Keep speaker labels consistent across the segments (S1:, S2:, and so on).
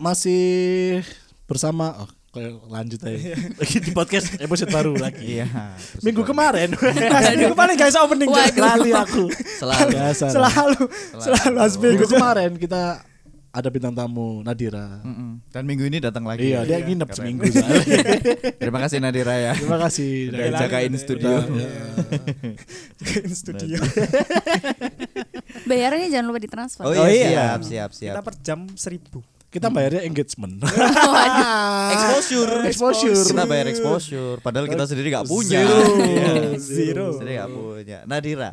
S1: masih bersama oh, kayak lanjut aja. Lagi di podcast episode baru lagi.
S2: Iya.
S1: Minggu kemarin.
S3: Bahasa minggu paling guys opening Cok.
S1: Waduh. Lali aku.
S2: Selalu.
S1: Biasa. lah.
S3: selalu selalu harus
S1: Minggu
S3: minggu
S1: kemarin kita ada bintang tamu Nadira.
S2: Mm-mm. Dan minggu ini datang lagi.
S1: Iya, dia nginep
S2: Keren.
S1: seminggu. soalnya.
S2: Terima kasih Nadira ya.
S1: Terima kasih.
S2: Udah
S1: Nadira.
S2: jagain studio.
S1: Iya.
S3: studio
S4: Bayarnya jangan lupa ditransfer.
S2: Oh
S3: Oh
S2: iya,
S3: iya.
S2: siap, siap, siap.
S3: kita per jam seribu
S1: Kita bayarnya engagement.
S2: Exposure.
S1: Ah, Exposure.
S2: Kita bayar exposure. Padahal kita sendiri nggak punya.
S1: Zero.
S2: Iya.
S3: Zero.
S1: Iya.
S2: Sendiri nggak punya. Nadira,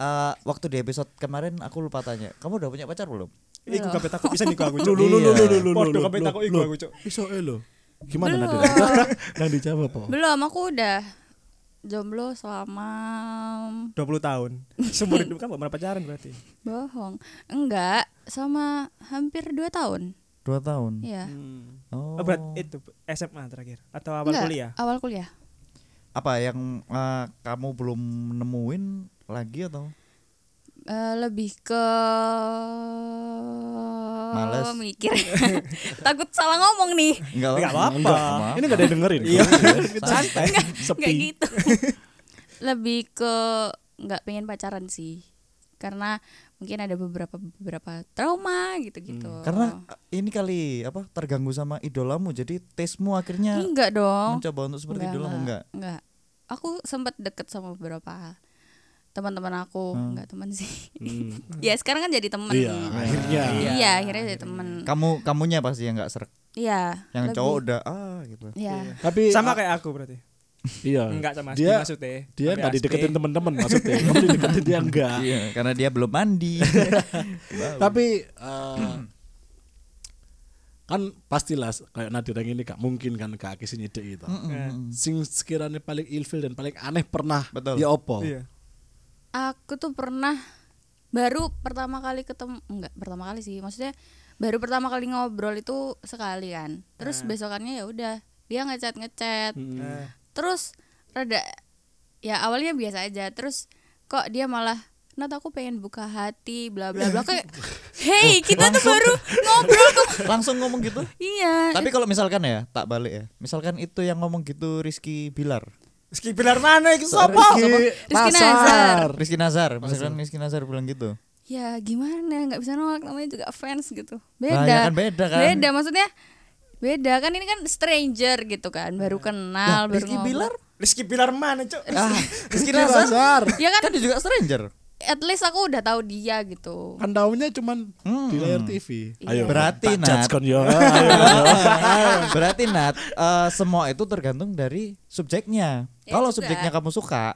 S2: eh, waktu di episode kemarin aku lupa tanya, kamu udah punya pacar belum?
S3: Iku kabeh takut pisan iku aku
S1: Lu
S3: cuk.
S1: lu lu lu lu lu.
S3: Podo
S1: lu,
S3: kabeh
S1: lu,
S3: Iya. takut iku
S1: lu.
S3: aku cuk.
S1: Iso eh, lu. Gimana
S4: Belum.
S1: Nadira? Nang dijawab apa?
S4: Belum, aku udah jomblo selama
S3: 20 tahun. Seumur hidup kan gak pernah pacaran berarti.
S4: bohong. Enggak, sama hampir 2 tahun.
S2: Dua tahun.
S4: Iya.
S2: Oh.
S3: Oh, berat itu SMA terakhir atau awal
S4: Enggak,
S3: kuliah?
S4: Awal kuliah.
S2: Apa yang eh, kamu belum nemuin lagi atau?
S4: Eh, lebih ke
S2: Males.
S4: mikir. Takut salah ngomong nih.
S2: Enggak
S3: Nggak apa-apa.
S1: Ini gak ada yang dengerin.
S3: Iya.
S2: Santai.
S4: Enggak
S1: Sepi.
S4: gitu. lebih ke nggak pengen pacaran sih. Karena mungkin ada beberapa beberapa trauma gitu-gitu.
S2: Karena eh, ini kali apa terganggu sama idolamu jadi tesmu akhirnya
S4: enggak dong.
S2: mencoba untuk seperti idolamu Iya. enggak?
S4: enggak. Aku sempat deket sama beberapa teman-teman aku,
S2: Hmm.
S4: enggak teman sih.
S1: Hmm.
S4: ya sekarang kan jadi teman.
S1: Iya, akhirnya.
S4: Iya, akhirnya jadi teman.
S2: Kamu kamunya pasti yang enggak serk.
S4: Iya.
S2: Yang
S4: lebih-
S2: cowok udah ah gitu.
S4: Iya.
S1: Tapi
S3: Sama kayak aku berarti.
S1: iya.
S3: Enggak sama Aspi
S1: dia
S3: maksudnya.
S1: dia
S3: Sampai
S1: nggak
S3: Aspi.
S1: dideketin teman-teman maksudnya. Kamu dideketin dia enggak.
S2: Iya, karena dia belum mandi.
S4: Iya,
S1: Tapi eh, kan pastilah kayak Nadira yang ini gak mungkin kan gak akisi nyidek itu.
S3: Nah,
S1: Sing sekiranya paling ilfil dan paling aneh pernah
S2: Betul.
S1: ya opo.
S3: Iya.
S4: Aku tuh pernah baru pertama kali ketemu enggak pertama kali sih. Maksudnya baru pertama kali ngobrol itu sekali kan. Terus besokannya ya udah dia ngechat-ngechat.
S1: Hmm.
S3: Eh,
S4: terus rada ya awalnya biasa aja terus kok dia malah Nat aku pengen buka hati bla bla bla kayak
S2: Oh,
S4: hey kita tuh baru ngobrol tuh
S2: Langsung ngomong gitu.
S4: iya
S2: Tapi kalau misalkan ya, tak balik ya. Misalkan itu yang ngomong gitu Rizky Bilar.
S3: Ski pilar mana iki
S1: Apa?
S3: sapa?
S4: Rizky Nazar.
S2: Rizky Nazar, misalkan Rizky Nazar bilang gitu.
S4: ya gimana nggak bisa nolak namanya juga fans gitu
S2: Nah,
S4: beda
S2: ya kan beda kan?
S4: beda maksudnya beda kan ini kan stranger gitu kan baru kenal baru
S2: Iya. Rizky
S4: ngobrol.
S2: Bilar?
S3: Rizky Pilar mana cuk?
S2: Ah, Rizky Nazar.
S1: Nazar.
S4: ya
S2: Kan
S4: kan
S2: dia juga stranger.
S4: at least aku udah tahu dia gitu
S1: Kan taunya cuman di layar TV.
S4: Mm. Iya.
S1: Ayo.
S2: Berarti,
S1: tak judge kan ya.
S2: Nat.
S1: kon yo. Ayo.
S2: Berarti Nat, eh, semua itu tergantung dari subjeknya.
S4: Ya
S2: kalau
S4: juga.
S2: subjeknya kamu suka,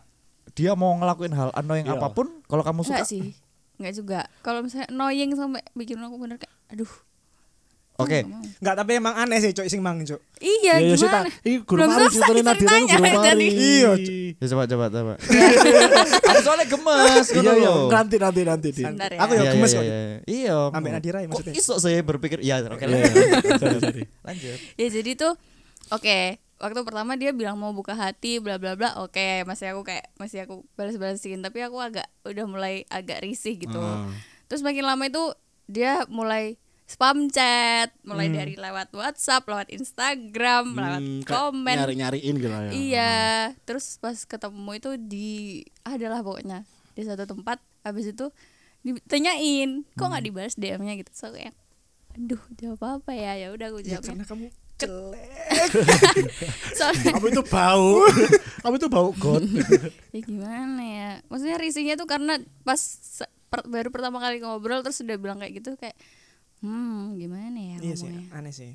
S2: dia mau ngelakuin hal annoying
S1: Iya.
S2: apapun, kalau kamu suka,
S4: enggak sih enggak juga kalau misalnya annoying sampai bikin aku bener kayak aduh
S2: Oke.
S4: aku nggak mau.
S3: Enggak, tapi emang aneh sih cuk sing mang cuk.
S4: Iya
S1: Ya, ya,
S4: gimana?
S1: Sita. Ih, guru
S4: Belum
S1: mari
S4: selesai
S1: ceritanya Nadira ini guru
S4: ceritanya,
S1: mari.
S4: jadi.
S1: Iya.
S2: Ya coba coba coba. Aku soalnya gemes
S1: Iya,
S2: ngono
S1: iya.
S2: lho.
S1: Nanti nanti nanti. Din.
S4: Sebentar ya.
S3: Aku ya
S2: Iya,
S3: gemes
S2: iya,
S3: kok.
S2: iya, iya. Iya.
S3: Ambek Nadira ya
S2: Kok
S3: maksudnya.
S2: iso saya berpikir iya oke
S1: Iya,
S2: lanjut.
S1: iya. Sorry, sorry.
S2: Lanjut.
S4: Ya jadi tuh oke, waktu pertama dia bilang mau buka hati bla bla bla. Oke, masih aku kayak masih aku balas-balasin tapi aku agak udah mulai agak risih gitu.
S1: Ah.
S4: Terus makin lama itu dia mulai spam chat, mulai dari lewat WhatsApp, lewat Instagram, lewat
S1: Hmm, kayak
S4: komen.
S1: Nyari-nyariin gitu lah ya.
S4: Iya, terus pas ketemu itu di adalah pokoknya di satu tempat. Habis itu ditanyain, kok nggak dibalas DM-nya gitu. So kayak aduh, jawab apa ya? Ya udah aku
S3: Ya
S4: jawabnya.
S3: karena kamu
S4: Soalnya
S1: Kamu itu bau. Kamu itu bau got.
S4: ya gimana ya? Maksudnya risihnya tuh karena pas se- per- baru pertama kali ngobrol terus udah bilang kayak gitu kayak hmm, gimana ya
S3: iya sih,
S4: ngomongnya?
S3: aneh sih.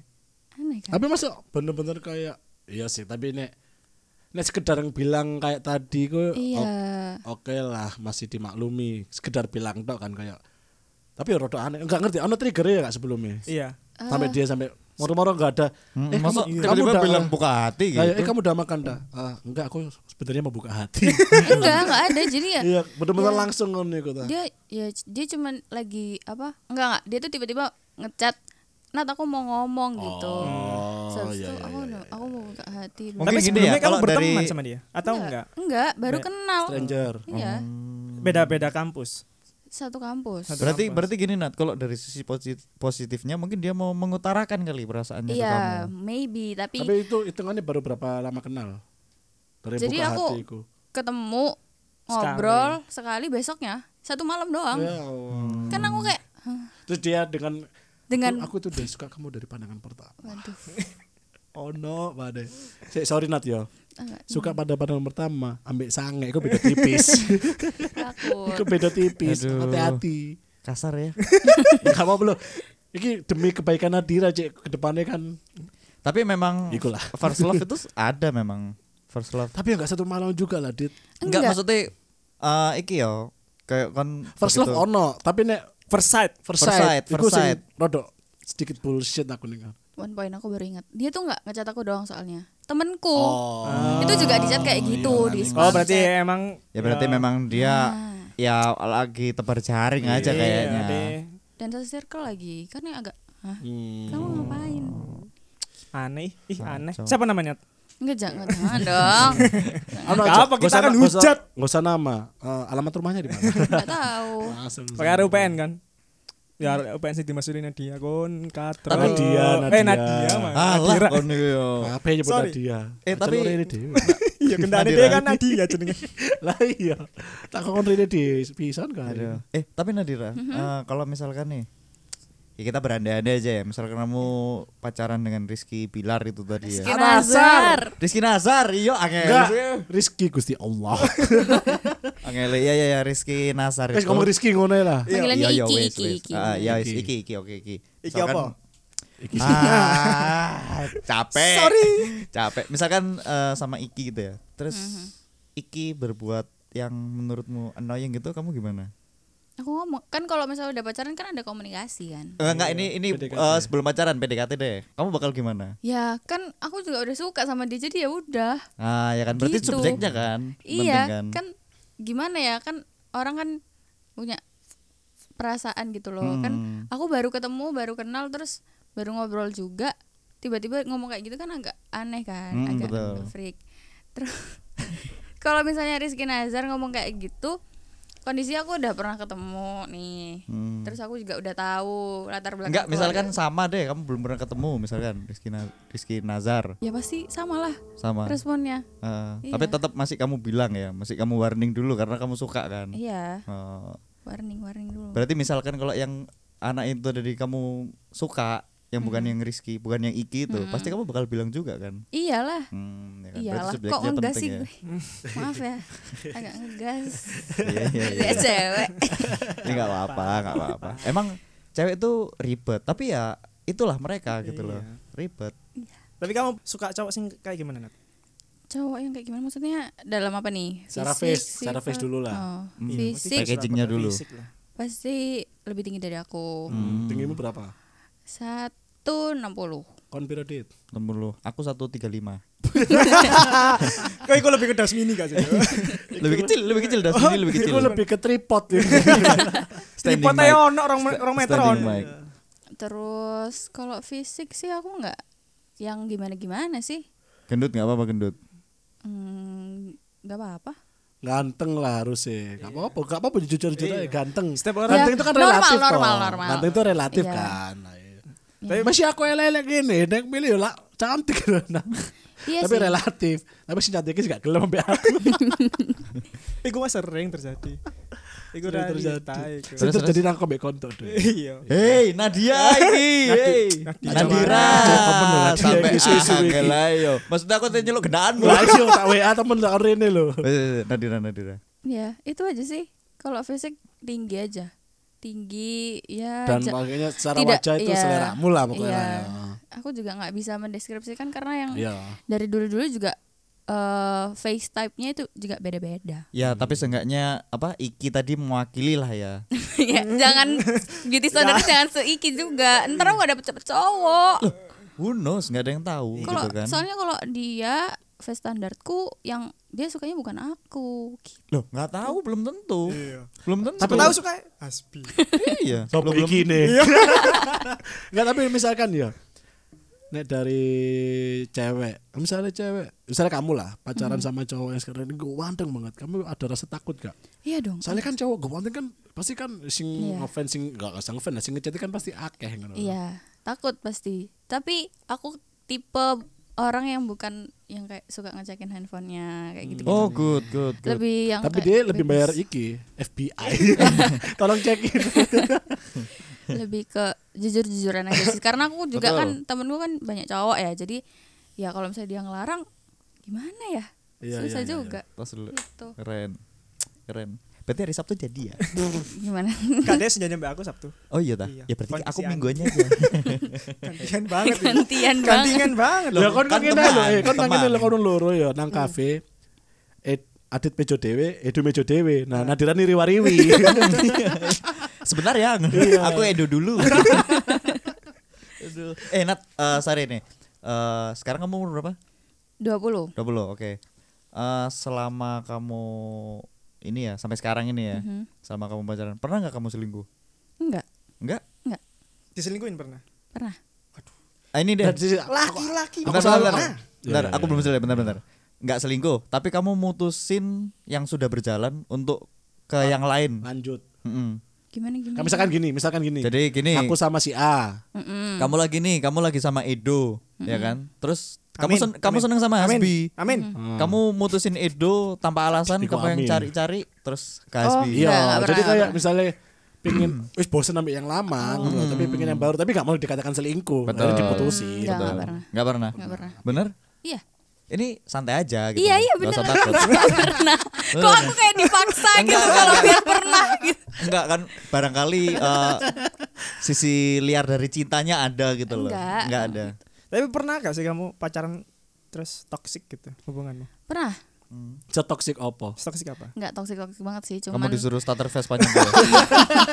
S4: Aneh kan?
S1: tapi masa bener-bener kayak iya sih tapi nek nek sekedar yang bilang kayak tadi kok
S4: Iya.
S1: o- oke lah masih dimaklumi sekedar bilang tok kan kayak tapi ya rada aneh enggak ngerti ono trigger ya enggak sebelumnya
S4: Eh.
S3: Iya.
S1: sampai dia sampai moro-moro enggak ada eh
S2: Hmm,
S1: kamu,
S2: masa
S1: kamu
S2: tiba-tiba
S1: udah
S2: bilang buka hati gitu.
S1: kayak, eh kamu udah makan dah "Ah, enggak aku sebenarnya mau buka hati
S4: Eh, enggak, enggak ada. Jadi ya
S1: iya bener-bener
S4: Iya.
S1: langsung ngono iku ta
S4: dia ya c- dia cuman lagi apa enggak enggak dia tuh tiba-tiba ngechat Nat aku mau ngomong gitu
S1: Oh,
S4: Terus
S1: iya,
S4: itu
S1: iya,
S4: aku udah- aku mau buka hati bla-
S2: Mungkin
S3: Tapi
S2: gini
S3: sebelumnya
S2: ya,
S3: kamu
S2: kalau dari-
S3: berteman sama dia atau enggak?
S4: enggak baru
S3: Ba-
S4: kenal
S1: stranger
S4: iya
S3: Beda-beda kampus.
S4: satu kampus
S3: Satu
S2: Berarti
S3: kampus.
S2: berarti gini Nat, kalau dari sisi posi- positifnya mungkin dia mau mengutarakan kali perasaannya
S4: iya
S2: ke kamu.
S4: maybe tapi,
S1: Tapi itu hitungannya baru berapa lama kenal? Dari
S4: Jadi
S1: buka
S4: aku-
S1: hatiku.
S4: ketemu ngobrol sekali besoknya satu malam doang
S1: Ya Allah.
S4: kan aku kayak "Hah,
S1: Terus dia dengan
S4: dengan
S1: aku tuh udah suka kamu dari pandangan pertama.
S4: waduh
S1: Oh no, Bade. Sik, sorry Nat yo.
S4: enggak,
S1: Suka pada pandangan pertama, ambek sange iku beda tipis.
S4: takut
S1: iku beda tipis,
S2: Aduh.
S1: hati-hati.
S2: Kasar ya.
S1: Enggak apa-apa loh. Iki demi kebaikan Nadira, Cek. Kedepannya kan.
S2: Tapi memang
S1: Ikulah.
S2: first love itu ada memang first love.
S1: Tapi enggak satu malam juga lah, Dit.
S2: Enggak,
S4: Enggak.
S2: maksudnya eh iki yo kayak kan
S1: First love
S2: begitu.
S1: ono, tapi nek
S3: First sight.
S1: first
S2: First
S1: sight,
S2: sight,
S1: iku
S2: first
S1: sing
S2: sight.
S1: rodok sedikit bullshit aku dengar.
S4: one point aku baru ingat dia tuh nggak ngecat aku doang soalnya temenku
S1: Oh. iya,
S4: itu juga di chat kayak gitu di
S3: Oh
S4: spam
S3: berarti
S4: chat.
S3: emang
S2: Ya berarti
S3: Iya.
S2: memang dia
S1: Ah.
S2: ya lagi tebar jaring
S3: Iya,
S2: Ya, aja kayaknya.
S3: Berarti
S4: dan satu circle lagi kan yang agak Hah,
S1: Hmm.
S4: kamu ngapain
S3: aneh. Ih aneh.
S2: Kacau.
S3: Siapa namanya?
S4: enggak jangan jangan dong
S1: Ano
S3: Gak
S1: aja,
S3: apa,
S1: gak
S3: kita
S1: usah-
S3: akan
S1: gak usah-
S3: hujat.
S1: Gak usah nama, Eh, alamat rumahnya di mana?
S4: nggak tahu
S1: Langsung.
S3: Pakai RUPN kan? Ya RUPN sih dimasukin Nadia kon katro.
S1: Tapi- Nadia,
S3: Eh
S1: Nadia.
S3: Nadia mah.
S2: Alah,
S3: Nadira.
S2: kon yo.
S1: Apa ya nyebut
S3: Sorry.
S1: dia?
S2: Eh, tapi-
S3: Iya kendane
S2: Nadira.
S3: dia kan Nadia jenenge.
S1: lah iya. Tak kok rene di pisan kan.
S2: Aduh. Eh tapi Nadira,
S1: Mm-hmm.
S2: eh, kalau misalkan nih ya kita berandai-andai aja ya. Misalkan kamu pacaran dengan Rizky Pilar itu tadi ya.
S4: Rizky Nazar
S2: Rizky Nazar, iya
S1: Enggak,
S2: angel.
S1: Rizky Gusti Allah.
S2: Angel, iya iya ya, Rizky Nazar.
S1: Wis
S3: Eh,
S2: itu.
S1: ngomong Rizky ngono lah.
S4: panggilannya
S2: Iya, iya,
S4: Iki
S2: wes,
S4: Iki
S2: wes.
S4: Iki
S2: Ah, iya, wes,
S1: Iki.
S2: Iki Iki oke Iki.
S3: Iki
S2: Misalkan-
S3: apa?
S2: Ah, capek.
S3: Sorry.
S2: Capek. Misalkan eh, sama Iki gitu ya. Terus
S4: Mm-hmm.
S2: Iki berbuat yang menurutmu annoying gitu kamu gimana?
S4: aku ngomong kan kalau misalnya udah pacaran kan ada komunikasi kan
S3: Iya,
S2: Enggak enggak ini ini
S1: PDKT.
S2: eh, sebelum pacaran PDKT deh. Kamu bakal gimana?
S4: ya kan aku juga udah suka sama dia jadi ya udah
S2: Ah, ya kan berarti
S4: Gitu.
S2: subjeknya kan.
S4: iya
S2: penting
S4: kan? gimana ya kan orang kan punya perasaan gitu loh kan
S2: Hmm.
S4: aku baru ketemu baru kenal terus baru ngobrol juga tiba-tiba ngomong kayak gitu kan agak aneh kan
S2: Hmm,
S4: agak
S2: betul.
S4: freak terus kalau misalnya Rizky Nazar ngomong kayak gitu kondisi aku udah pernah ketemu nih
S2: Hmm.
S4: terus aku juga udah tahu latar belakang
S2: Enggak, misalkan
S4: keluarga.
S2: sama deh, kamu belum pernah ketemu misalkan Rizky, Na- Rizky Nazar
S4: ya pasti sama lah
S2: sama.
S4: responnya
S2: Eh,
S4: Iya.
S2: Tapi tetap masih kamu bilang ya, masih kamu warning dulu karena kamu suka kan.
S4: iya
S2: Eh,
S4: warning warning dulu
S2: Berarti misalkan kalau yang anak itu dari kamu suka, yang bukan
S4: Hmm.
S2: yang Rizky, bukan yang Iki itu, pasti kamu bakal bilang juga kan.
S4: iyalah
S2: Hmm, ya kan?
S4: Iyalah
S2: subjeknya
S4: kok ngegas
S2: penting
S4: sih
S2: ya.
S4: gue Maaf ya Agak ngegas
S2: Iya, iya, iya.
S4: Dia cewek
S2: Ini nggak apa-apa, nggak apa-apa. Emang cewek itu ribet, tapi ya itulah mereka gitu loh,
S3: Iya.
S2: ribet.
S3: Tapi kamu suka cowok sing kayak gimana Nat?
S4: Cowok yang kayak gimana maksudnya Dalam apa nih
S1: Secara
S4: Fisik,
S1: face, secara face
S4: sifat?
S1: dulu lah. Iya,
S4: oh,
S2: Hmm.
S4: Fisik
S2: Pakai- Packagingnya dulu.
S3: Fisik lah.
S4: Pasti lebih tinggi dari aku
S2: Hmm.
S1: Tinggimu berapa?
S4: Satu enam puluh
S1: Kon piro dit?
S2: Temen lu, aku 135
S3: Kok iku lebih kedas mini gak sih?
S2: Lebih kecil, lebih kecil dah sini
S3: Oh,
S2: lebih kecil.
S1: Itu lebih ke tripod ya.
S2: Standing
S3: Tripodnya
S2: mic.
S3: ono rong me- rong meter oh.
S2: Standing
S3: ono.
S2: mic.
S4: Terus Kalau fisik sih aku nggak Yang gimana-gimana sih
S2: Gendut nggak apa-apa gendut.
S4: hmm, Gak apa-apa
S1: Ganteng lah harusnya. Gak apa-apa, gak apa-apa jujur-jujur aja ganteng.
S3: Setiap orang
S1: Ganteng itu
S4: Ya,
S1: kan
S4: normal,
S1: relatif toh.
S4: normal, normal.
S1: Ganteng itu relatif
S4: Iya.
S1: kan. Nah, iya. Tapi masih aku elek-elek gini, nek milih lah cantik loh. Nah.
S4: Iya
S1: Tapi
S4: sih Iya,
S1: relatif. Tapi si cantiknya sih gak gelem ambek aku.
S3: Iku mah Eh, sering terjadi. Eh, Iku
S1: Sering
S4: iya,
S3: realita
S1: terjadi.
S3: iku.
S1: Sing terjadi nang kombek kontok deh.
S3: Iya.
S2: Hei Nadia ini, hei
S3: Nadia.
S2: Nadira,
S1: Nadia, temen lu, Nadia,
S2: sampai
S1: isu-isu iki.
S2: angel ayo. Maksudnya aku tanya lu gendaanmu.
S1: Lah iya, tak WA temen tak rene lho.
S2: Eh, Nadira Nadira.
S4: Ya itu aja sih Kalau fisik tinggi aja Tinggi ya
S1: Dan
S4: ja-
S1: makanya secara
S4: Tidak,
S1: wajah itu
S4: iya.
S1: seleramu lah pokoknya.
S4: Iya.
S1: lah,
S4: aku juga nggak bisa mendeskripsikan karena yang
S1: ya. Iya.
S4: dari dulu-dulu juga eh face type-nya itu juga beda-beda.
S2: Ya tapi seenggaknya apa Iki tadi mewakili lah ya.
S4: ya, jangan beauty standarnya jangan seiki juga. Ntar aku gak dapet dapet cowok.
S2: Who knows nggak ada yang tahu
S1: iya
S4: Kalau
S2: gitu kan.
S4: soalnya kalau dia face standarku yang dia sukanya bukan aku. Gitu.
S2: Loh nggak tahu belum tentu.
S3: Iya.
S2: Belum tentu.
S3: Tapi tahu suka ya? Asbi.
S2: Iya.
S1: Sopo
S2: belum, belum-
S1: iki nih. Enggak tapi misalkan ya nek dari cewek misalnya cewek misalnya kamu lah pacaran sama cowok yang sekarang ini gue wanteng banget kamu ada rasa takut gak
S4: Iya dong.
S1: soalnya kan cowok gue wanteng kan pasti kan sing
S4: Iya.
S1: ngefans sing gak usah ngefans lah, sing ngechat kan pasti akeh ngono.
S4: Iya, takut pasti. Tapi aku tipe orang yang bukan yang kayak suka ngecekin handphonenya kayak gitu.
S2: Oh, good, good, good.
S4: lebih yang
S1: tapi
S4: kayak
S1: dia lebih bayar
S4: bebas.
S1: iki FBI tolong cekin
S4: lebih ke jujur-jujuran aja sih. Karena aku juga
S2: Betul.
S4: kan temen gue kan banyak cowok ya. Jadi ya kalau misalnya dia ngelarang gimana ya?
S1: Iya,
S4: Susah
S1: iya, iya,
S4: juga.
S2: Tos dulu.
S4: Gitu.
S2: Keren. Keren. Berarti hari Sabtu jadi ya?
S4: Gimana?
S3: Kak Des janjian mbak aku Sabtu.
S2: Oh iya dah.
S3: Iya.
S2: Ya berarti
S3: Kondisi
S2: aku
S3: aja.
S2: mingguannya aja.
S3: Gantian banget. ini.
S4: Gantian banget.
S3: ya? Gantian banget
S1: Lah
S3: loh.
S1: kon
S2: kan
S1: kan ngene
S2: teman,
S1: lho, eh, kon kan
S2: teman.
S1: ngene lho kon loro ya nang kafe. Eh Adit mejo dhewe, Edu mejo dhewe. Nah, Nadira riwariwi.
S2: Sebentar ya. aku Edo dulu. Aduh. eh Nat, eh, sorry nih. Eh, sekarang kamu umur berapa? 20,
S4: 20.
S2: oke. Eh, selama kamu ini ya, sampai sekarang ini ya.
S4: Mhm.
S2: Selama kamu pacaran, pernah nggak kamu selingkuh?
S4: Enggak,
S2: Enggak?
S4: enggak.
S3: Diselingkuhin pernah.
S4: Pernah.
S2: Ah, ini deh.
S3: Laki-laki.
S2: Bentar,
S1: selalu-
S2: bentar,
S1: ah.
S3: Iya,
S2: bentar. Bentar,
S1: Ya, ya,
S2: aku belum selesai, bentar, bentar. Enggak selingkuh, tapi kamu mutusin yang sudah berjalan untuk ke yang lain.
S1: Lanjut.
S2: Mm-mm.
S4: Gimana gimana?
S1: Nah, misalkan gini, misalkan gini.
S2: Jadi gini,
S1: aku sama si A.
S4: Mm-mm.
S2: kamu lagi nih, kamu lagi sama Edo, ya kan? Terus kamu sen- kamu seneng sama
S3: Amin.
S2: Hasbi.
S3: Amin.
S2: Kamu mutusin Edo tanpa alasan,
S1: Iku
S2: kamu yang
S1: amin.
S2: cari-cari terus ke
S4: Oh,
S2: Hasbi.
S4: Enggak, enggak
S1: Iya, jadi
S4: pernah,
S1: kayak
S4: enggak
S1: misalnya pingin wis bosen sampai yang lama gitu loh, tapi pingin yang baru tapi gak mau dikatakan selingkuh
S2: Betul.
S1: akhirnya diputusin
S4: Enggak, enggak
S2: Betul.
S4: pernah.
S2: Nggak pernah.
S4: Enggak pernah.
S2: Bener?
S4: Iya.
S2: Ini santai aja gitu.
S4: Iya, iya,
S2: Nggak usah
S4: bener.
S2: takut.
S4: Enggak pernah. Kok aku kayak dipaksa gitu kalau biar pernah gitu.
S2: Enggak kan barangkali eh, sisi liar dari cintanya ada gitu loh.
S4: Enggak.
S2: ada.
S3: Tapi pernah gak sih kamu pacaran terus toksik gitu hubunganmu?
S4: Pernah.
S1: setoksik opo
S3: Toksik apa?
S4: Enggak toksik-toksik banget sih,
S2: Kamu
S4: cuman
S2: disuruh starter face panjang dulu.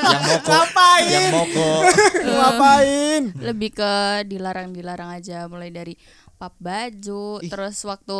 S2: yang moko, yang moko.
S3: Ngapain?
S4: lebih ke dilarang-dilarang aja mulai dari pap baju, terus waktu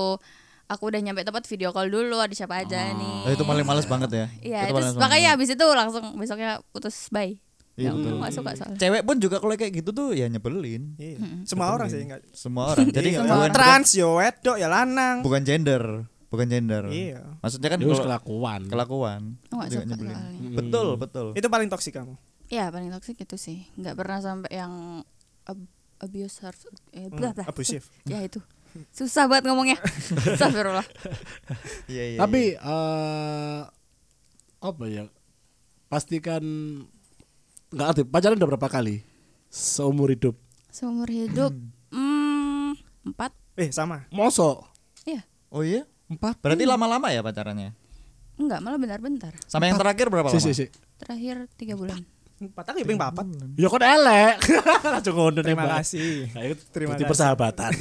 S4: aku udah nyampe tempat video call dulu ada siapa aja nih.
S2: Oh, itu paling males banget ya.
S4: Iya,
S2: itu
S4: terus
S2: paling males
S4: makanya
S2: banget.
S4: habis itu langsung besoknya putus bye.
S2: Iya,
S4: Ya, aku
S2: betul.
S4: nggak suka soalnya.
S2: Cewek pun juga kalau kayak gitu tuh ya nyebelin.
S3: Iya. Semua orang sih enggak.
S2: Semua orang. Jadi ya,
S3: Iya,
S2: bukan,
S3: trans yo wedok ya lanang.
S2: bukan gender, bukan gender.
S3: Iya.
S2: Maksudnya kan
S1: ya wis
S2: kalau-
S1: kelakuan
S2: kelakuan.
S4: Aku Oh, nggak
S2: juga
S4: suka
S2: nyebelin. Hmm.
S4: soalnya.
S2: Betul, betul.
S3: Itu paling toksik kamu.
S4: Ya paling toksik itu sih, nggak pernah sampai yang ab- abuser, eh, blah, blah.
S3: Abusif.
S4: Ya itu susah banget ngomongnya. Astagfirullah.
S2: Iya, iya,
S1: Tapi
S2: iya.
S1: eh apa ya? Pastikan nggak aktif. Pacaran udah berapa kali seumur hidup?
S4: Seumur hidup, hmm, empat,
S3: Eh, sama.
S1: Mosok
S4: ya
S2: Oh iya?
S1: empat.
S2: Berarti lama-lama ya pacarannya?
S4: enggak malah bentar-bentar.
S2: Sama yang terakhir berapa
S1: Si
S2: lama?
S1: si si.
S4: Terakhir tiga bulan.
S3: Empat aku ya paling papat.
S1: Ya kok elek. Langsung ngono
S3: Terima
S1: nembak.
S3: kasih.
S1: Nah, itu Iya.
S3: Terima
S1: bukti
S3: kasih.
S1: persahabatan.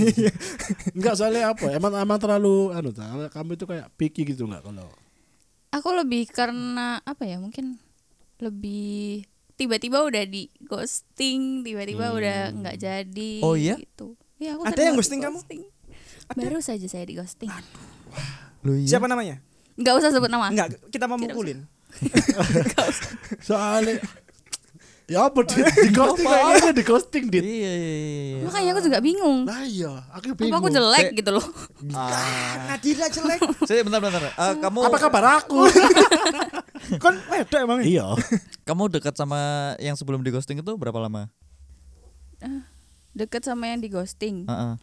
S1: enggak soalnya apa? ya, Emang emang terlalu anu ta, kamu itu kayak picky gitu enggak kalau.
S4: Aku lebih karena apa ya mungkin lebih tiba-tiba udah di ghosting, tiba-tiba udah nggak jadi.
S2: Oh iya?
S4: Gitu. Ya, aku
S3: Ada yang
S4: sering banget
S3: ghosting kamu?
S4: di-ghosting. Baru saja saya di ghosting.
S2: Loh, iya.
S3: Siapa namanya?
S4: Nggak usah sebut nama.
S3: Enggak, kita mau mukulin.
S1: Soalnya Ya apa ya? di, di ghosting kayaknya di ghosting dit.
S2: Iya, iya, iya.
S4: Makanya aku juga bingung.
S1: Nah iya, aku
S4: Apa
S1: bingung.
S4: aku jelek
S2: Saya-
S4: gitu loh?
S3: Ah, Nadira jelek.
S2: Saya bentar bentar. Eh, kamu
S1: Apa kabar aku?
S3: Kon wedok emang.
S1: iya.
S2: kamu dekat sama yang sebelum di ghosting itu berapa lama?
S4: Deket sama yang di ghosting.
S2: Heeh.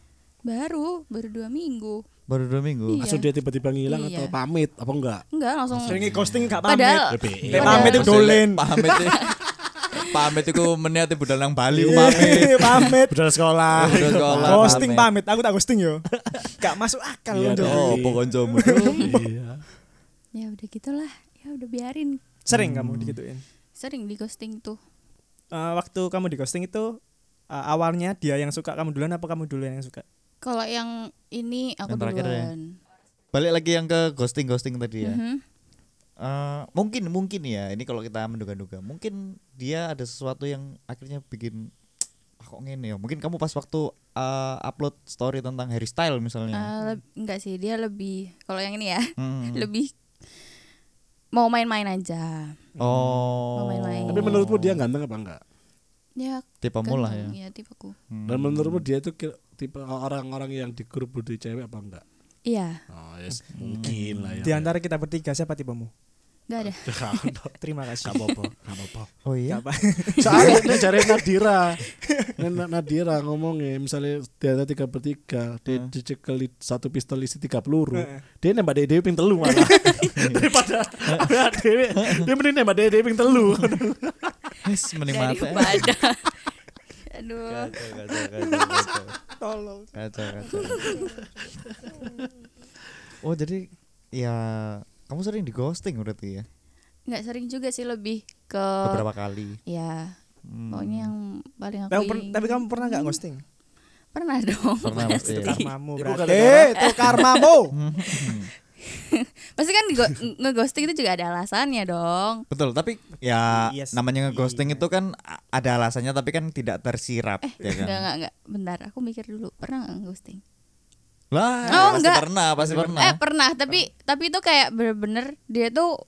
S4: Baru, baru dua minggu.
S2: Baru dua minggu.
S4: Iya.
S1: Langsung dia tiba-tiba ngilang atau
S4: Iya.
S1: pamit apa enggak?
S4: Enggak langsung.
S3: Seringi ghosting gak pamit.
S4: Padahal, ya
S1: PPI.
S3: Lek
S4: padahal-
S3: pamit Eh, itu dolen.
S2: Pamit itu. Pamit itu meniati budal nang Bali ku pamit.
S3: Iya, pamit.
S1: Budal sekolah.
S2: Budal sekolah.
S3: Ghosting pamit. Aku tak ghosting yo. Gak masuk akal
S1: Iya,
S3: loh. Jo.
S2: Oh, pokoncomu.
S1: Iya.
S4: ya udah gitulah. Ya udah biarin.
S3: Sering kamu digituin.
S4: Sering di ghosting tuh.
S3: Eh, waktu kamu di ghosting itu eh, awalnya dia yang suka kamu duluan apa kamu duluan yang suka?
S4: Kalau yang ini aku
S2: Yang terakhir ya?
S4: duluan.
S2: Balik lagi yang ke ghosting ghosting tadi ya.
S4: Mhm.
S2: Eh, mungkin mungkin ya. Ini kalau kita menduga-duga, mungkin dia ada sesuatu yang akhirnya bikin "Ah, kok ngene ya. Mungkin kamu pas waktu eh, upload story tentang Harry Style misalnya.
S4: Ah, leb- enggak sih, dia lebih kalau yang ini ya,
S2: Iya. Hmm.
S4: lebih mau main-main aja.
S2: Oh.
S4: Mau main-main.
S1: Tapi menurutmu dia ganteng apa enggak?
S4: Ya,
S2: tipe mula ya.
S4: ya tipeku.
S1: Dan menurutmu dia itu kira- tipe orang-orang yang di grup bully cewek apa enggak?
S4: Iya,
S1: Oh, yes.
S2: Hmm.
S1: mungkin lah ya.
S3: Di antara kita bertiga siapa tipemu?
S4: nggak ada.
S3: Terima
S1: Gak
S3: kasih.
S1: apa-apa, gak apa-apa.
S2: Oh iya.
S3: Apa?
S1: Soalnya ini dari Nadira. Ini Na- Nadira ngomongnya misalnya dia ada tiga per tiga, dia
S2: Hmm.
S1: dicekel di- satu pistol isi tiga peluru. Dia nembak dede ping telu malah. Daripada ambil dewe, dia mending nembak dede ping telu.
S2: Wis ya? mending mati.
S4: Daripada. Aduh.
S2: Kacau, kacau, kacau, kacau.
S3: Tolong.
S2: Kacau, kacau. Oh jadi ya kamu sering di ghosting berarti ya
S4: nggak sering juga sih lebih ke
S2: beberapa kali.
S4: ya
S2: Hmm.
S4: pokoknya yang paling aku
S3: Tapi, per-
S4: ingin-
S3: tapi kamu pernah nggak ghosting?
S4: pernah dong
S2: Pernah, ya. pasti.
S4: pasti
S3: Itu karmamu
S1: Itu
S3: berarti.
S1: gara-gara-
S3: Eh, Itu karmamu.
S4: pasti kan go- ngeghosting itu juga ada alasannya dong
S2: Betul, tapi ya
S3: Yes.
S2: namanya ghosting
S3: Iya.
S2: itu kan a- ada alasannya tapi kan tidak tersirat ya
S4: nggak
S2: kan.
S4: nggak nggak bentar aku mikir dulu pernah nggak ghosting
S2: Lah,
S4: Oh,
S2: pasti
S4: enggak.
S2: pernah, pasti pernah.
S4: eh pernah tapi tapi itu kayak bener-bener dia tuh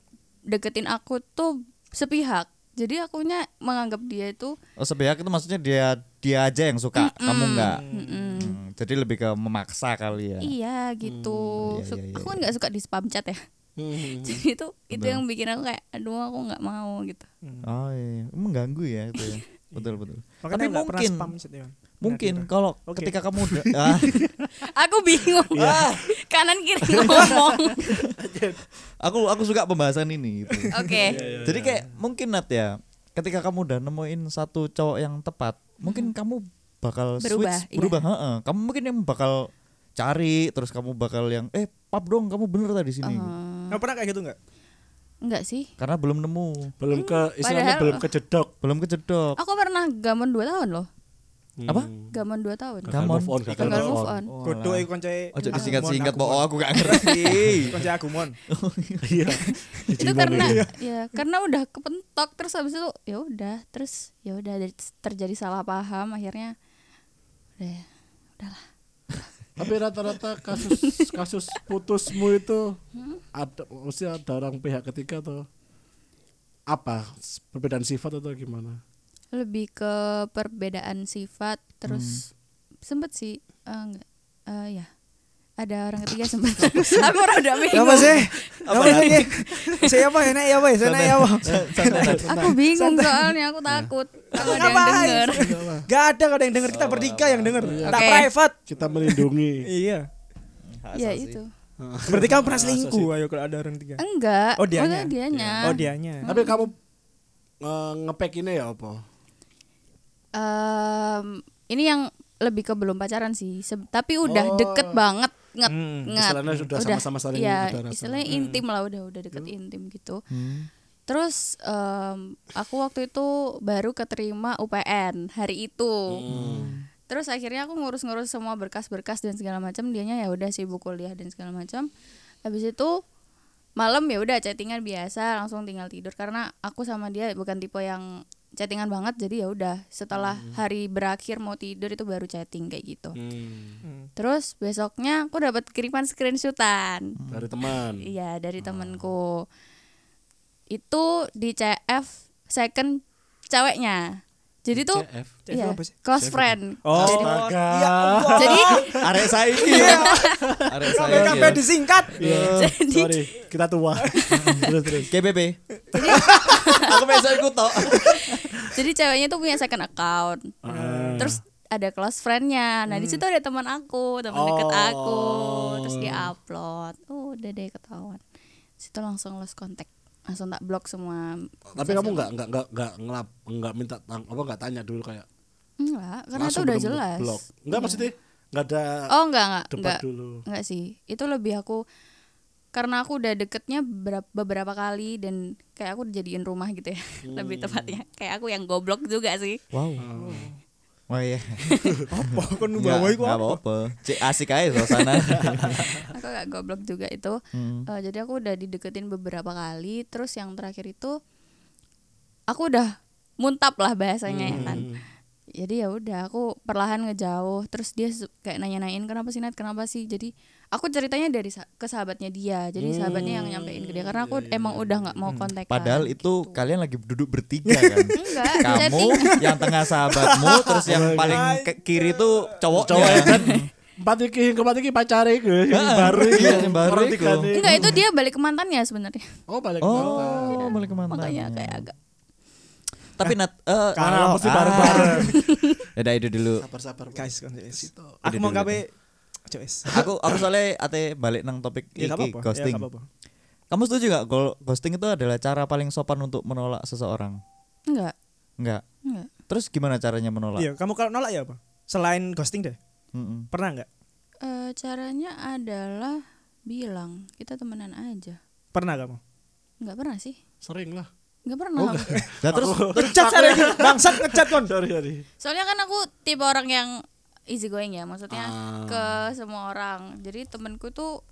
S4: deketin aku tuh sepihak jadi akunya menganggap dia itu
S2: Oh, sepihak itu maksudnya dia dia aja yang suka, kamu enggak.
S4: mm-mm.
S2: Hmm, jadi lebih ke memaksa kali ya.
S4: iya
S2: iya,
S4: gitu Su-
S2: iya,
S4: aku kan nggak suka di spam chat ya
S2: Hmm.
S4: jadi itu itu yang bikin aku kayak aduh aku nggak mau gitu
S2: Oh, iya. mengganggu ya itu ya. betul, betul.
S3: Makanya
S2: tapi
S3: nggak pernah
S2: mungkin
S3: spam chat, Iwan.
S2: mungkin
S3: Nadira.
S2: kalau
S3: Oke.
S2: ketika kamu udah ah,
S4: aku bingung
S2: Iya.
S4: kanan kiri ngomong
S2: aku aku suka pembahasan ini gitu.
S4: oke
S2: Jadi kayak
S3: Iya.
S2: mungkin Nat ya, ketika kamu udah nemuin satu cowok yang tepat, mungkin kamu bakal
S4: Berubah,
S2: switch
S4: iya.
S2: berubah. heeh. Kamu mungkin yang bakal cari, terus kamu bakal yang eh pap dong, kamu bener tadi sini.
S3: Kamu pernah kayak gitu nggak?
S4: enggak Hmm, sih
S2: Karena belum nemu,
S1: Belum ke istilahnya
S4: padahal-
S1: belum kejedok.
S2: belum kejedok.
S4: aku pernah gamon 2 tahun loh
S2: Apa?
S1: Hmm.
S4: gamon 2 tahun
S1: Gagal
S2: Gamon.
S1: move on, gagal
S4: gagal
S1: move
S4: move
S1: on.
S4: on
S3: Kudu iku eh, koncoe.
S2: Ojo
S3: Agumon,
S2: disingkat-singkat,
S3: Agumon.
S2: pokoknya aku gak ngerti.
S3: Koncoe Agumon.
S1: Iya.
S4: itu karena
S3: Iya.
S4: ya karena udah kepentok terus habis itu ya udah terus ya udah ada- terjadi salah paham akhirnya udah ya, udahlah
S1: Tapi rata-rata kasus kasus putusmu itu ada mesti ada orang pihak ketiga atau apa S- perbedaan sifat atau gimana?
S4: lebih ke perbedaan sifat
S3: Hmm.
S4: terus sempet sih eh, enggak eh, ya ada orang ketiga sempet aku rada bingung
S3: Apa sih? Apa lagi? Siapa enak ya, Pak? Saya ya, Pak.
S4: aku bingung soalnya aku
S3: Iya.
S4: takut kalau ada yang
S3: Ngapain?
S4: denger
S3: Gak ada gak ada yang denger kita bertiga yang denger. Tak
S4: Oke.
S3: private.
S1: Kita melindungi.
S3: Iya.
S4: ya itu
S3: Berarti kamu pernah selingkuh ayo kalau ada orang tiga.
S4: enggak
S3: Oh, dianya.
S4: maksudnya dianya
S3: Oh dianya.
S1: Tapi kamu eh, ngepack ini ya apa?
S4: Em, ini yang lebih ke belum pacaran sih Se- tapi udah deket banget nget
S3: Hmm,
S4: nget
S1: istilahnya sudah sama-sama saling
S4: ya,
S1: ada rasa.
S4: istilahnya intim lah udah udah deket intim gitu terus em, aku waktu itu baru keterima UPN hari itu
S1: Hmm.
S4: terus akhirnya aku ngurus-ngurus semua berkas-berkas dan segala macam dianya ya udah sibuk kuliah dan segala macam habis itu malam ya udah chattingan biasa langsung tinggal tidur karena aku sama dia bukan tipe yang chattingan banget jadi ya udah setelah hari berakhir mau tidur itu baru chatting kayak gitu
S1: Hmm,
S4: terus besoknya aku dapat kiriman screenshotan
S1: Dari teman.
S4: Iya dari temanku itu di CF second ceweknya jadi tuh
S1: CF.
S3: CF
S4: iya,
S3: apa sih?
S4: close friend
S3: Oh,
S1: Astaga.
S3: ya Allah.
S4: jadi
S2: Arek saiki ya. Arek
S3: Sampai
S2: saiki.
S3: kabeh disingkat.
S1: Iya,
S4: Jadi-
S1: Sorry, kita tua. terus terus.
S2: KBB. Aku besok ikut tok.
S4: jadi ceweknya tuh punya second account
S1: Ah. Hmm.
S4: terus ada close friendnya nah di situ ada teman aku teman
S1: Oh.
S4: deket aku terus dia upload oh udah deh ketahuan situ langsung lost contact langsung tak blok semua
S1: Tapi kamu nggak nggak nggak nggak ngelap nggak minta tang- apa nggak tanya dulu kayak
S4: enggak karena itu
S1: langsung
S4: udah
S1: bener-bener
S4: jelas Iya.
S1: blok. Enggak maksudnya nggak ada
S4: Oh enggak enggak
S1: debat
S4: enggak.
S1: dulu.
S4: Enggak sih. Itu lebih aku karena aku udah deketnya berap- beberapa kali dan kayak aku dijadiin rumah gitu ya.
S1: Hmm.
S4: lebih tepatnya. Kayak aku yang goblok juga sih.
S2: Wow. Wah iya.
S3: Apa kon
S2: Nggak-
S3: bawa iku
S2: nggak
S3: apa?
S2: apa-apa. Cek asik aja suasana.
S4: Aku gak goblok juga itu.
S2: Hmm.
S4: Eh, jadi aku udah dideketin beberapa kali terus yang terakhir itu aku udah muntap lah bahasanya ya
S2: Hmm.
S4: kan. Jadi ya udah aku perlahan ngejauh terus dia su- kayak nanya-nanyain kenapa sih Nat kenapa sih. Jadi aku ceritanya dari sa- ke sahabatnya dia jadi
S2: Hmm,
S4: sahabatnya yang nyampein ke dia
S2: iya,
S4: karena aku emang udah nggak mau kontak
S2: Padahal itu kalian lagi duduk bertiga kan.
S4: Enggak,
S2: Kamu
S4: jadi-
S2: yang tengah sahabatmu terus yang paling ke kiri tuh cowoknya.
S1: Cowok ya kan. Empat iki, yang keempat iki pacare iku, yang
S2: Ah,
S1: baru iki,
S2: iya, yang baru
S1: mereka
S2: iku.
S1: nih.
S4: enggak itu dia balik ke mantannya sebenarnya
S1: Oh, balik mantan.
S2: Oh, boleh kemana?
S4: makanya kayak agak
S2: Tapi Nat eh
S1: Karena
S3: Kalau-
S1: mesti bareng-bareng.
S2: ya udah itu dulu.
S1: Sabar-sabar.
S3: guys kon wis. Aku mau
S2: dulu,
S3: gawe Cuk, wis.
S2: Aku aku soalnya ate balik nang topik
S3: Ya
S2: iki
S3: gak apa-apa. Ya
S2: ghosting.
S3: gak apa-apa.
S2: Kamu setuju gak kalau ghosting itu adalah cara paling sopan untuk menolak seseorang?
S4: enggak
S2: Enggak.
S4: enggak
S2: Terus gimana caranya menolak?
S3: Iya, kamu kalau nolak ya apa? Selain ghosting deh.
S2: Mm-mm.
S3: Pernah nggak?
S4: Eh, caranya adalah bilang kita temenan aja
S3: Pernah kamu?
S4: enggak pernah sih
S1: Sering lah.
S4: enggak pernah
S1: Oh,
S2: Nah, terus
S3: Ngechat saya ini, bangsat ngechat kon. Sorry, sorry.
S4: soalnya kan aku tipe orang yang easy going ya maksudnya
S1: Ah.
S4: ke semua orang jadi temenku tuh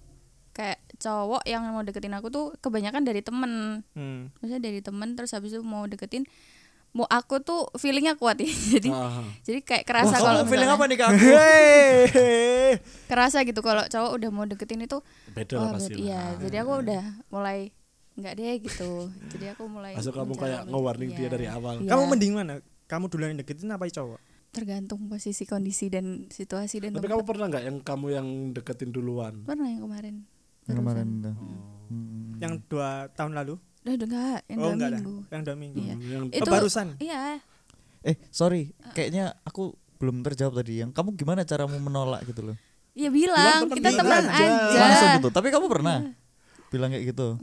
S4: kayak cowok yang mau deketin aku tuh kebanyakan dari temen
S3: Hmm.
S4: maksudnya dari temen terus habis itu mau deketin mau aku tuh feelingnya kuat ya jadi
S1: Ah.
S4: jadi kayak kerasa
S2: Wah,
S4: kalau
S2: kamu feeling apa
S4: misalnya-
S2: nih ke aku?
S3: Hei.
S4: kerasa gitu kalau cowok udah mau deketin itu
S1: Beda
S4: wah,
S1: lah pasti.
S4: bet- iya
S1: lah.
S2: Nah.
S4: jadi aku udah mulai nggak deh gitu jadi aku mulai
S1: Masuk kamu
S4: mencoba
S1: kayak
S4: untuk-
S1: nge-warning
S4: iya.
S1: dia dari awal.
S4: Iya.
S3: Kamu mending mana? Kamu duluan yang deketin apa cowok?
S4: tergantung posisi kondisi dan situasi dan
S1: Tapi kamu
S4: tempat.
S1: pernah nggak yang kamu yang deketin duluan?
S4: pernah yang kemarin
S2: Yang kemarin itu.
S3: Yang dua tahun lalu? Oh,
S4: udah udah enggak
S2: Oh,
S4: yang dua
S3: enggak
S4: minggu
S3: Yang dua minggu.
S4: Iya.
S1: Hmm, Yang
S4: Itu-
S3: Oh, barusan.
S4: iya
S2: Eh, sorry. Kayaknya aku belum terjawab tadi yang kamu gimana caramu menolak gitu loh.
S4: ya bilang
S1: temen
S4: kita
S1: bilang
S4: teman
S1: aja.
S4: aja
S2: Langsung gitu. Tapi kamu pernah bilang kayak gitu.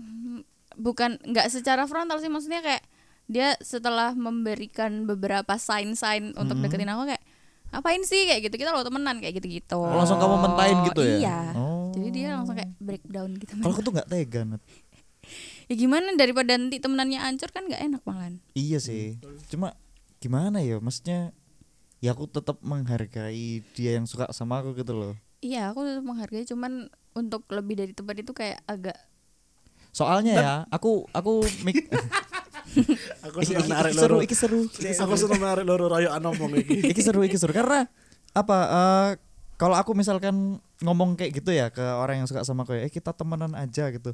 S4: bukan nggak secara frontal sih maksudnya kayak dia setelah memberikan beberapa sign-sign untuk deketin aku kayak apain sih kayak gitu kita lo temenan kayak gitu gitu
S2: Oh, langsung kamu mentain gitu ya?
S4: iya
S2: Oh.
S4: jadi dia langsung kayak breakdown gitu
S2: Kalau aku tuh nggak tega. Nat.
S4: ya gimana daripada nanti temenannya hancur kan nggak enak malahan
S2: Iya sih. Cuma gimana ya? Maksudnya ya aku tetap menghargai dia yang suka sama aku gitu loh.
S4: iya aku tetap menghargai cuman untuk lebih dari tempat itu kayak agak
S2: Soalnya ya, aku aku mik
S1: Aku
S2: iki,
S1: seneng
S2: iki-
S1: narik
S2: iki
S1: loro.
S2: seru, iki seru.
S1: Aku seneng narik loro rayo ngomong iki.
S2: Iki seru, iki seru karena apa eh, kalau aku misalkan ngomong kayak gitu ya ke orang yang suka sama aku ya, eh kita temenan aja gitu.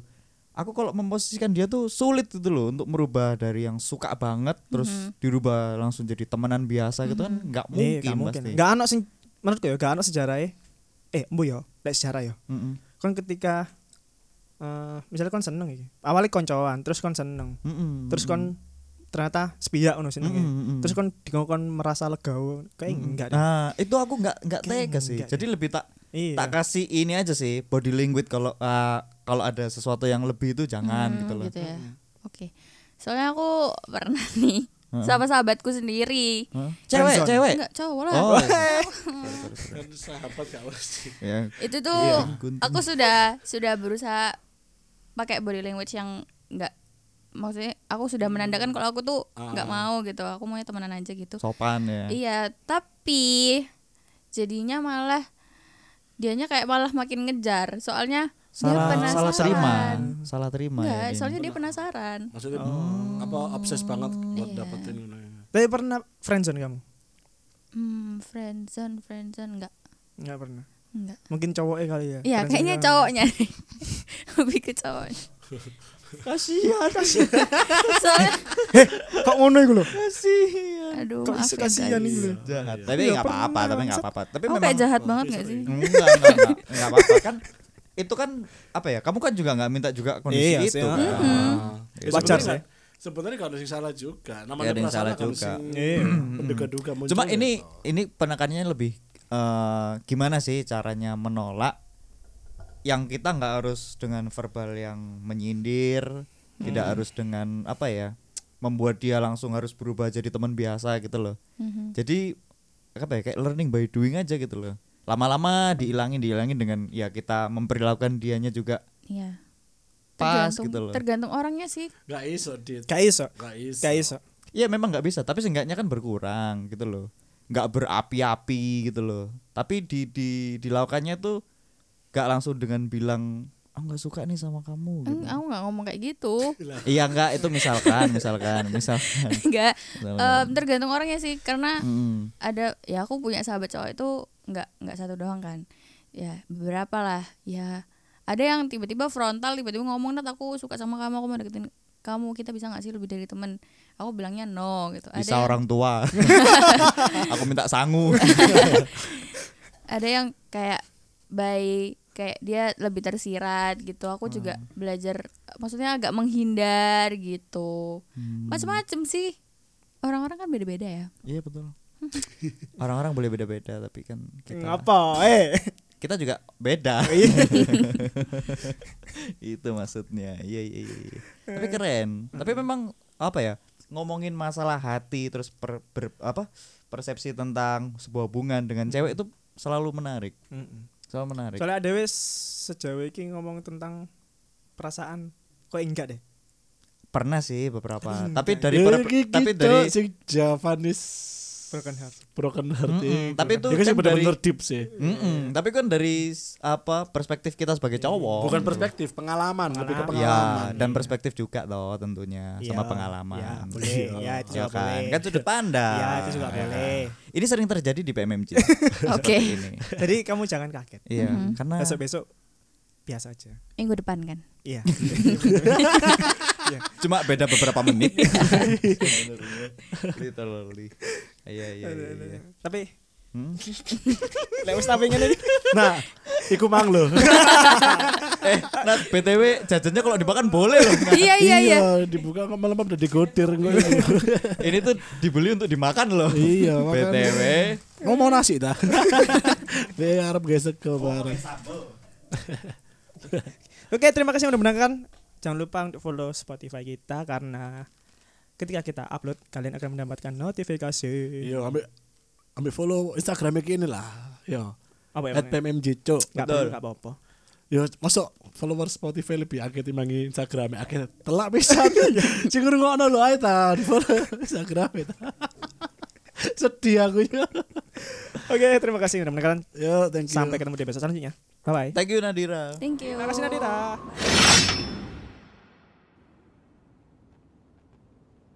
S2: Aku kalau memposisikan dia tuh sulit gitu loh untuk merubah dari yang suka banget terus dirubah langsung jadi temenan biasa gitu kan nggak
S3: Iya,
S2: mungkin,
S3: gak mungkin.
S2: pasti.
S3: Gak ano sing menurutku ya gak ano sejarahnya. Eh, mbo ya, lek sejarah ya.
S2: Mm-mm.
S3: Kon ketika eh misalnya kon seneng iki. Awalnya koncoan, terus kon seneng.
S2: Mm-mm.
S3: Terus kon ternyata sepihak ngono senenge.
S2: Mm-mm, mm-mm.
S3: Terus kon dikon kon merasa lega kayak Eh, enggak deh.
S2: Nah, itu aku nggak nggak tega sih.
S3: enggak
S2: Jadi lebih tak
S3: Iya.
S2: tak kasih ini aja sih body language kalau ah, kalau ada sesuatu yang lebih itu jangan gitu loh.
S4: ya oke soalnya aku pernah nih sama sahabatku sendiri
S2: Hah? Cewek,
S3: Friendzone.
S2: cewek.
S4: nggak cowok lah
S2: Oh.
S1: Kan sahabat gak mesti.
S2: ya.
S4: itu tuh aku sudah sudah berusaha pakai body language yang nggak maksudnya aku sudah menandakan kalau aku tuh nggak mau gitu aku mau temenan aja gitu
S2: Sopan Ah. ya.
S4: iya tapi jadinya malah dianya kayak malah makin ngejar soalnya dia
S2: Salah
S4: penasaran
S2: salah terima, salah terima
S4: Nggak,
S2: ya.
S4: soalnya dia penasaran
S1: Maksudnya
S4: Oh.
S1: apa obses banget
S4: Iya.
S1: buat dapetin ngono ya.
S2: Iya,
S3: Tapi pernah friendzone kamu?
S4: hmm friendzone friendzone nggak
S3: Enggak pernah.
S4: nggak
S3: Mungkin cowoknya kali ya.
S4: Iya
S3: friendzone
S4: kayaknya
S3: kamu.
S4: cowoknya deh. Lebih ke cowoknya
S3: Kasihan, kasihan.
S4: Soalnya
S3: Kok ngono iku lho? Kasihan.
S4: Aduh
S3: Kok
S4: maaf
S3: iso
S4: ya
S3: kasihan
S4: guys
S3: iku lho.
S2: Jahat. Tapi
S3: Iya,
S2: nggak apa-apa,
S3: pernah,
S2: tapi nggak
S3: maksud-
S2: apa-apa. gitu? Tapi
S4: Aku
S2: memang
S4: kayak jahat banget gak sih?
S2: enggak enggak enggak, enggak apa-apa kan. Itu kan apa ya? Kamu kan juga nggak minta juga kondisi
S3: Iya
S2: itu.
S3: sih,
S2: kan?
S3: heeh.
S2: Ya,
S3: Wajar
S2: sebenarnya-
S3: sih.
S1: Sebenarnya kalau ada yang salah juga.
S2: Ya,
S1: Namanya
S2: ada yang
S1: perasaan
S2: salah
S1: akan
S2: juga.
S1: sing
S3: Iya.
S1: Menduga-duga muncul.
S2: Cuma
S1: ya.
S2: ini ini penekanannya lebih eh, gimana sih caranya menolak yang kita nggak harus dengan verbal yang menyindir, tidak harus dengan apa ya membuat dia langsung harus berubah jadi teman biasa gitu loh. Jadi apa ya kayak learning by doing aja gitu loh. Lama-lama dihilangin dihilangin dengan ya kita memperlakukan dianya juga
S4: Iya
S2: pas
S4: Tergantung-
S2: gitu loh.
S4: Tergantung orangnya sih
S1: Gak iso dit.
S3: Gak iso.
S1: Gak iso.
S3: Gak iso.
S2: Iya memang nggak bisa, tapi seenggaknya kan berkurang gitu loh. Nggak berapi-api gitu loh. Tapi di di dilakukannya tuh nggak langsung dengan bilang ah nggak suka nih sama kamu. Gitu.
S4: Eng, aku nggak ngomong kayak gitu
S2: Iya nggak itu misalkan, misalkan, misalkan.
S4: nggak
S2: Misalkan.
S4: Em, tergantung
S2: Hmm.
S4: orangnya sih karena
S2: Mm-mm.
S4: ada ya aku punya sahabat cowok itu nggak nggak satu doang kan ya beberapa lah ya ada yang tiba-tiba frontal tiba-tiba ngomong Nat aku suka sama kamu aku mau deketin kamu kita bisa nggak sih lebih dari temen aku bilangnya no gitu ada
S2: bisa
S4: yang-
S2: orang tua aku minta sangu
S4: ada yang kayak by kayak dia lebih tersirat gitu aku juga belajar maksudnya agak menghindar gitu macam-macam sih orang-orang kan beda-beda ya
S2: iya betul orang-orang boleh beda-beda tapi kan kita
S3: Ngapa? Eh.
S2: kita juga beda
S3: Iya.
S2: itu maksudnya iya iya iya iya. tapi
S3: Eh.
S2: keren tapi memang apa ya ngomongin masalah hati terus per- ber- apa persepsi tentang sebuah hubungan dengan cewek itu selalu menarik selalu menarik
S3: Soalnya ada wis sejauh ini ngomong tentang perasaan kok enggak deh.
S2: pernah sih beberapa
S3: Hmm.
S2: tapi dari
S1: Ya,
S2: per-
S1: gitu,
S2: tapi dari
S1: si Javanis
S3: Broken heart.
S1: broken heart.
S2: Mm-mm,
S1: eh,
S2: tapi
S1: broken
S2: itu
S1: heart. Ya kan sih
S2: kan
S1: benar-benar
S2: dari-
S1: deep sih.
S2: Mm-mm, tapi kan dari s- apa perspektif kita sebagai cowok
S1: Bukan perspektif, pengalaman, lebih ke Oh. pengalaman.
S2: Ya, dan perspektif juga toh tentunya sama
S3: Iya,
S2: pengalaman.
S3: iya, boleh. Iya, itu juga
S2: kan.
S3: boleh.
S2: Kan sudut pandang.
S3: Iya, itu juga
S2: kan?
S3: boleh.
S2: Ini sering terjadi di PMMC.
S4: Oke.
S2: Ini.
S3: Jadi kamu jangan kaget.
S2: Iya, karena
S3: Besok-besok biasa aja.
S4: minggu depan kan
S3: Iya.
S2: cuma beda beberapa menit. Sebenarnya. Literally. Iya, iya, iya, iya.
S3: Tapi
S2: Hmm?
S3: lek wis tapi ngene iki.
S1: Nah, iku mang lo.
S2: Eh, Nat, BTW jajannya kalau dimakan boleh loh. Nah,
S4: iya iya iya
S1: dibuka kok malam udah digotir gue.
S2: Ini tuh dibeli untuk dimakan loh.
S1: Iya, makanya.
S2: BTW.
S1: Ngomong nasi dah. Dia harap gesek ke bareng.
S3: Oke, terima kasih yang udah mendengarkan. Jangan lupa untuk follow Spotify kita karena ketika kita upload kalian akan mendapatkan notifikasi.
S1: Yo, ambil ambil Iya, follow Instagramnya kini lah. Yo,
S3: Apa ya?
S1: Iya. at PMMJ Cuk.
S3: Enggak
S2: Betul.
S3: perlu enggak apa-apa.
S1: Yo, masuk follower Spotify lebih akeh timbang Instagramnya akeh. Telak pisan. Sing ngono lho ae ta, di follow Instagram e ta. Sedih aku yo.
S3: Oke, terima kasih yang udah mendengarkan.
S1: Yo, thank you.
S3: Sampai ketemu di episode selanjutnya. Bye bye.
S2: Thank you Nadira.
S4: thank you
S3: Terima kasih Nadira.